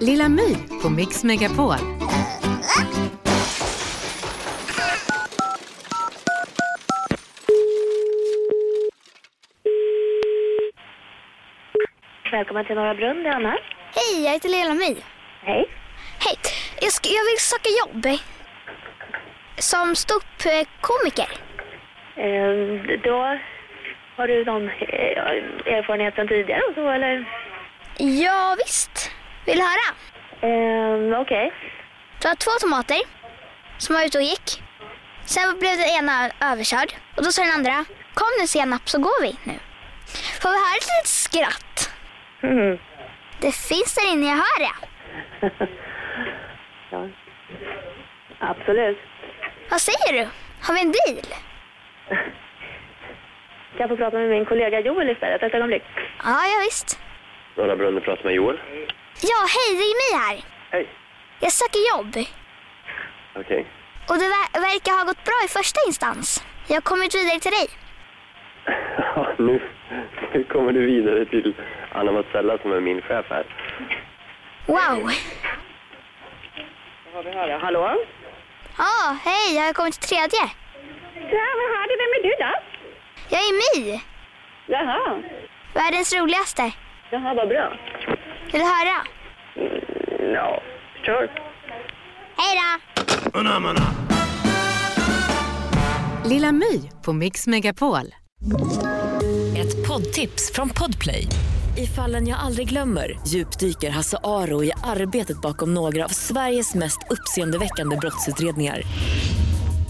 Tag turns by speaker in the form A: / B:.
A: Lilla My på Mix Megapol.
B: Välkommen till Norra Brunn, det är Anna.
C: Hej, jag heter Lilla My.
B: Hej.
C: Hej, jag, sk- jag vill söka jobb. Som ståuppkomiker.
B: Ehm, Då har du någon eh, erfarenhet sedan tidigare och så eller?
C: Ja, visst. Vill du höra?
B: Ehm, Okej.
C: Det var två tomater som var ute och gick. Sen blev den ena överkörd och då sa den andra, kom nu senap så går vi nu. Får vi höra ett litet skratt?
B: Mm.
C: Det finns där inne, jag hör det.
B: Ja. Absolut.
C: Vad säger du? Har vi en deal?
B: Kan jag få prata med min kollega Joel istället ett ögonblick?
C: Ja, ja visst.
D: Norra Brunnen pratar med Joel.
C: Ja, hej, det är mig här.
D: Hej.
C: Jag söker jobb.
D: Okej.
C: Och det ver- verkar ha gått bra i första instans. Jag har kommit vidare till dig.
D: Ja, nu, nu kommer du vidare till Anna Mazzella som är min chef här.
C: Wow!
B: Vad har vi höra? Hallå?
C: Ja, hej, jag har kommit till tredje.
B: Ja, vad har du? Vem är du då?
C: Jag är My,
B: Jaha.
C: världens roligaste.
B: Jaha, vad bra.
C: Vill du höra?
B: Ja, sure.
C: Hej då!
A: Lilla My på Mix Megapol.
E: Ett poddtips från Podplay. I fallen jag aldrig glömmer djupdyker Hasse Aro i arbetet bakom några av Sveriges mest uppseendeväckande brottsutredningar.